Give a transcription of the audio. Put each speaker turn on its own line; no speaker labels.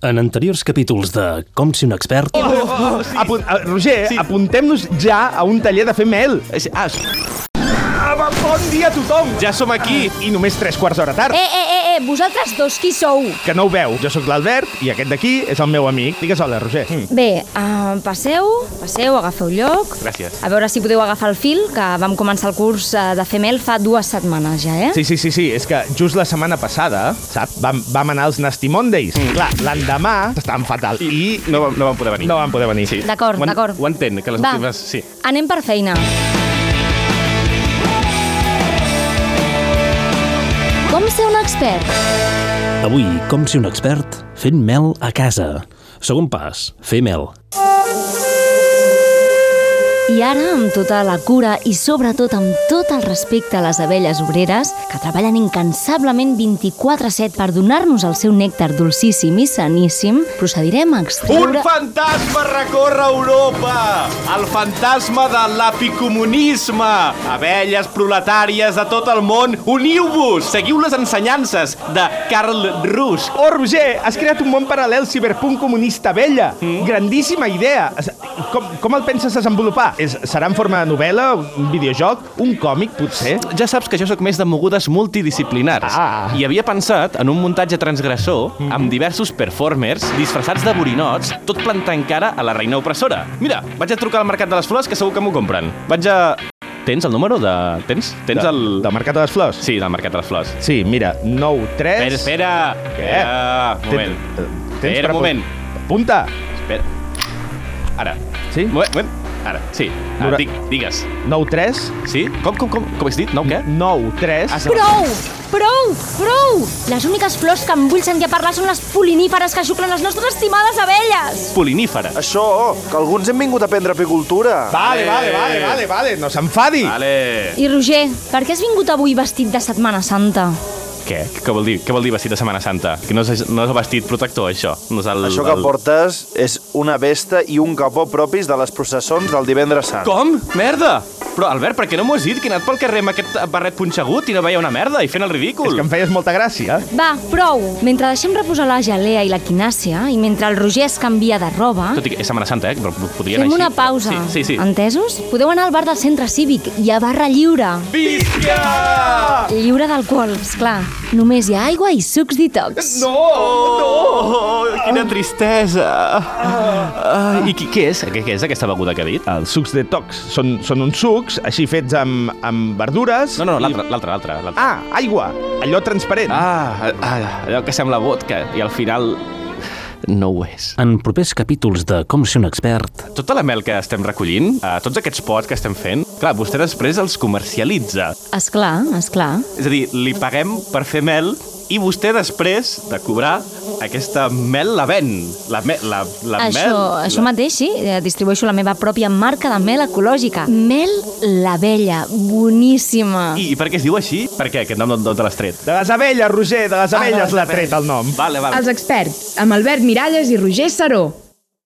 En anteriors capítols de Com si un expert... Oh,
Apu a, eh, Roger, sí. apuntem-nos ja a un taller de fer mel. És- Ah, és- Ah, bon- bon dia a tothom! Ja som aquí, i només tres quarts d'hora tard.
Eh, eh, eh, eh, vosaltres dos qui sou?
Que no ho veu. Jo sóc l'Albert i aquest d'aquí és el meu amic. Digues hola, Roger. Mm.
Bé, uh, passeu, passeu, agafeu lloc.
Gràcies.
A veure si podeu agafar el fil, que vam començar el curs eh, de fer mel fa dues setmanes ja, eh?
Sí, sí, sí, sí, és que just la setmana passada, saps, vam, vam anar als Nasty Mondays. Mm. Clar, l'endemà estàvem fatal i
No, vam- no vam poder venir.
no vam poder venir. Sí.
D'acord,
Ho en-
d'acord.
Ho entenc, que les
Va,
últimes... Sí.
anem per feina. Com ser un expert?
Avui, Com si un expert, fent mel a casa. Segon pas, fer mel.
I ara, amb tota la cura i sobretot amb tot el respecte a les abelles obreres, que treballen incansablement 24-7 per donar-nos el seu nèctar dolcíssim i saníssim, procedirem a
Un
extreure...
fantasma recorre Europa! El fantasma de l'apicomunisme! Abelles proletàries de tot el món, uniu-vos! Seguiu les ensenyances de Karl Rusk.
Oh, Roger, has creat un món paral·lel ciberpunk comunista vella. Mm. Grandíssima idea. Es- Com, com el penses desenvolupar? És, serà en forma de novel·la, un videojoc, un còmic, potser?
Eh? Ja saps que jo sóc més de mogudes multidisciplinars
Ah.
i havia pensat en un muntatge transgressor amb diversos performers disfressats de borinots, tot plantant cara a la reina opressora. Mira, vaig a trucar al Mercat de les Flors que segur que m'ho compren. Vaig a... Tens el número de... Tens? Tens el...
De, del Mercat de les Flors?
Sí, del Mercat de les Flors.
Sí, mira, 9, 3...
Espera, espera.
Què?
Espera, un moment.
eh, Tens
Espera,
per
un moment.
Punta.
Espera. Ara.
Sí?
Un moment, un moment. Ara, sí. Ara,
Nora-
dic, digues.
9, 3...
Sí? Com, com, com? Com has dit? No, què?
9, 3...
Ah, sí.
Prou! Prou! Prou! Les úniques flors que em vull sentir a parlar són les poliníferes que xuclen les nostres estimades abelles!
Polinífera.
Això, que alguns hem vingut a aprendre apicultura.
Vale, vale, vale, vale, vale, no s'enfadi.
Vale.
I Roger, per què has vingut avui vestit de Setmana Santa?
Què? Què vol dir? Què vol dir vestit de Setmana Santa? Que no és, no és el vestit protector, això. No és el,
Això que
el...
portes és una vesta i un capó propis de les processons del divendres sant.
Com? Merda! Però, Albert, per què no m'ho has dit? Que he anat pel carrer amb aquest barret punxegut i no veia una merda i fent el ridícul.
És que em feies molta gràcia.
Va, prou! Mentre deixem reposar la gelea i la quinàcia, i mentre el Roger es canvia de roba...
Tot i que és Setmana Santa, eh? Però podria
Fem
anar
una
així.
pausa.
Sí, sí. sí.
Entesos? Podeu anar al bar del centre cívic i a barra lliure.
Visca!
Lliure d'alcohol, és clar. Només hi ha aigua i sucs detox.
Oh,
No! no! Oh, Quina tristesa! Ah, I qui, què és? Què, què és aquesta beguda que ha dit?
Els sucs de tocs són, són uns sucs així fets amb, amb verdures...
No, no, l'altre, l'altre, l'altre. l'altre.
Ah, aigua, allò transparent.
Ah, ah, allò que sembla vodka i al final no ho és.
En propers capítols de Com si un expert,
Tota la mel que estem recollint, eh, tots aquests pots que estem fent, clar, vostè després els comercialitza.
És clar, és clar.
És a dir, li paguem per fer mel i vostè després de cobrar aquesta mel la ven. La, me, la, la
Això,
mel...
això mateix, sí. Eh, Distribueixo la meva pròpia marca de mel ecològica. Mel l'abella, boníssima.
I, I per què es diu així? Per què? Aquest nom d'on d'on te l'has tret?
De les abelles, Roger, de les
Ah. de
abelles
les
l'ha
abelles.
tret el nom.
Vale, vale.
Els experts, amb Albert Miralles i Roger Saró.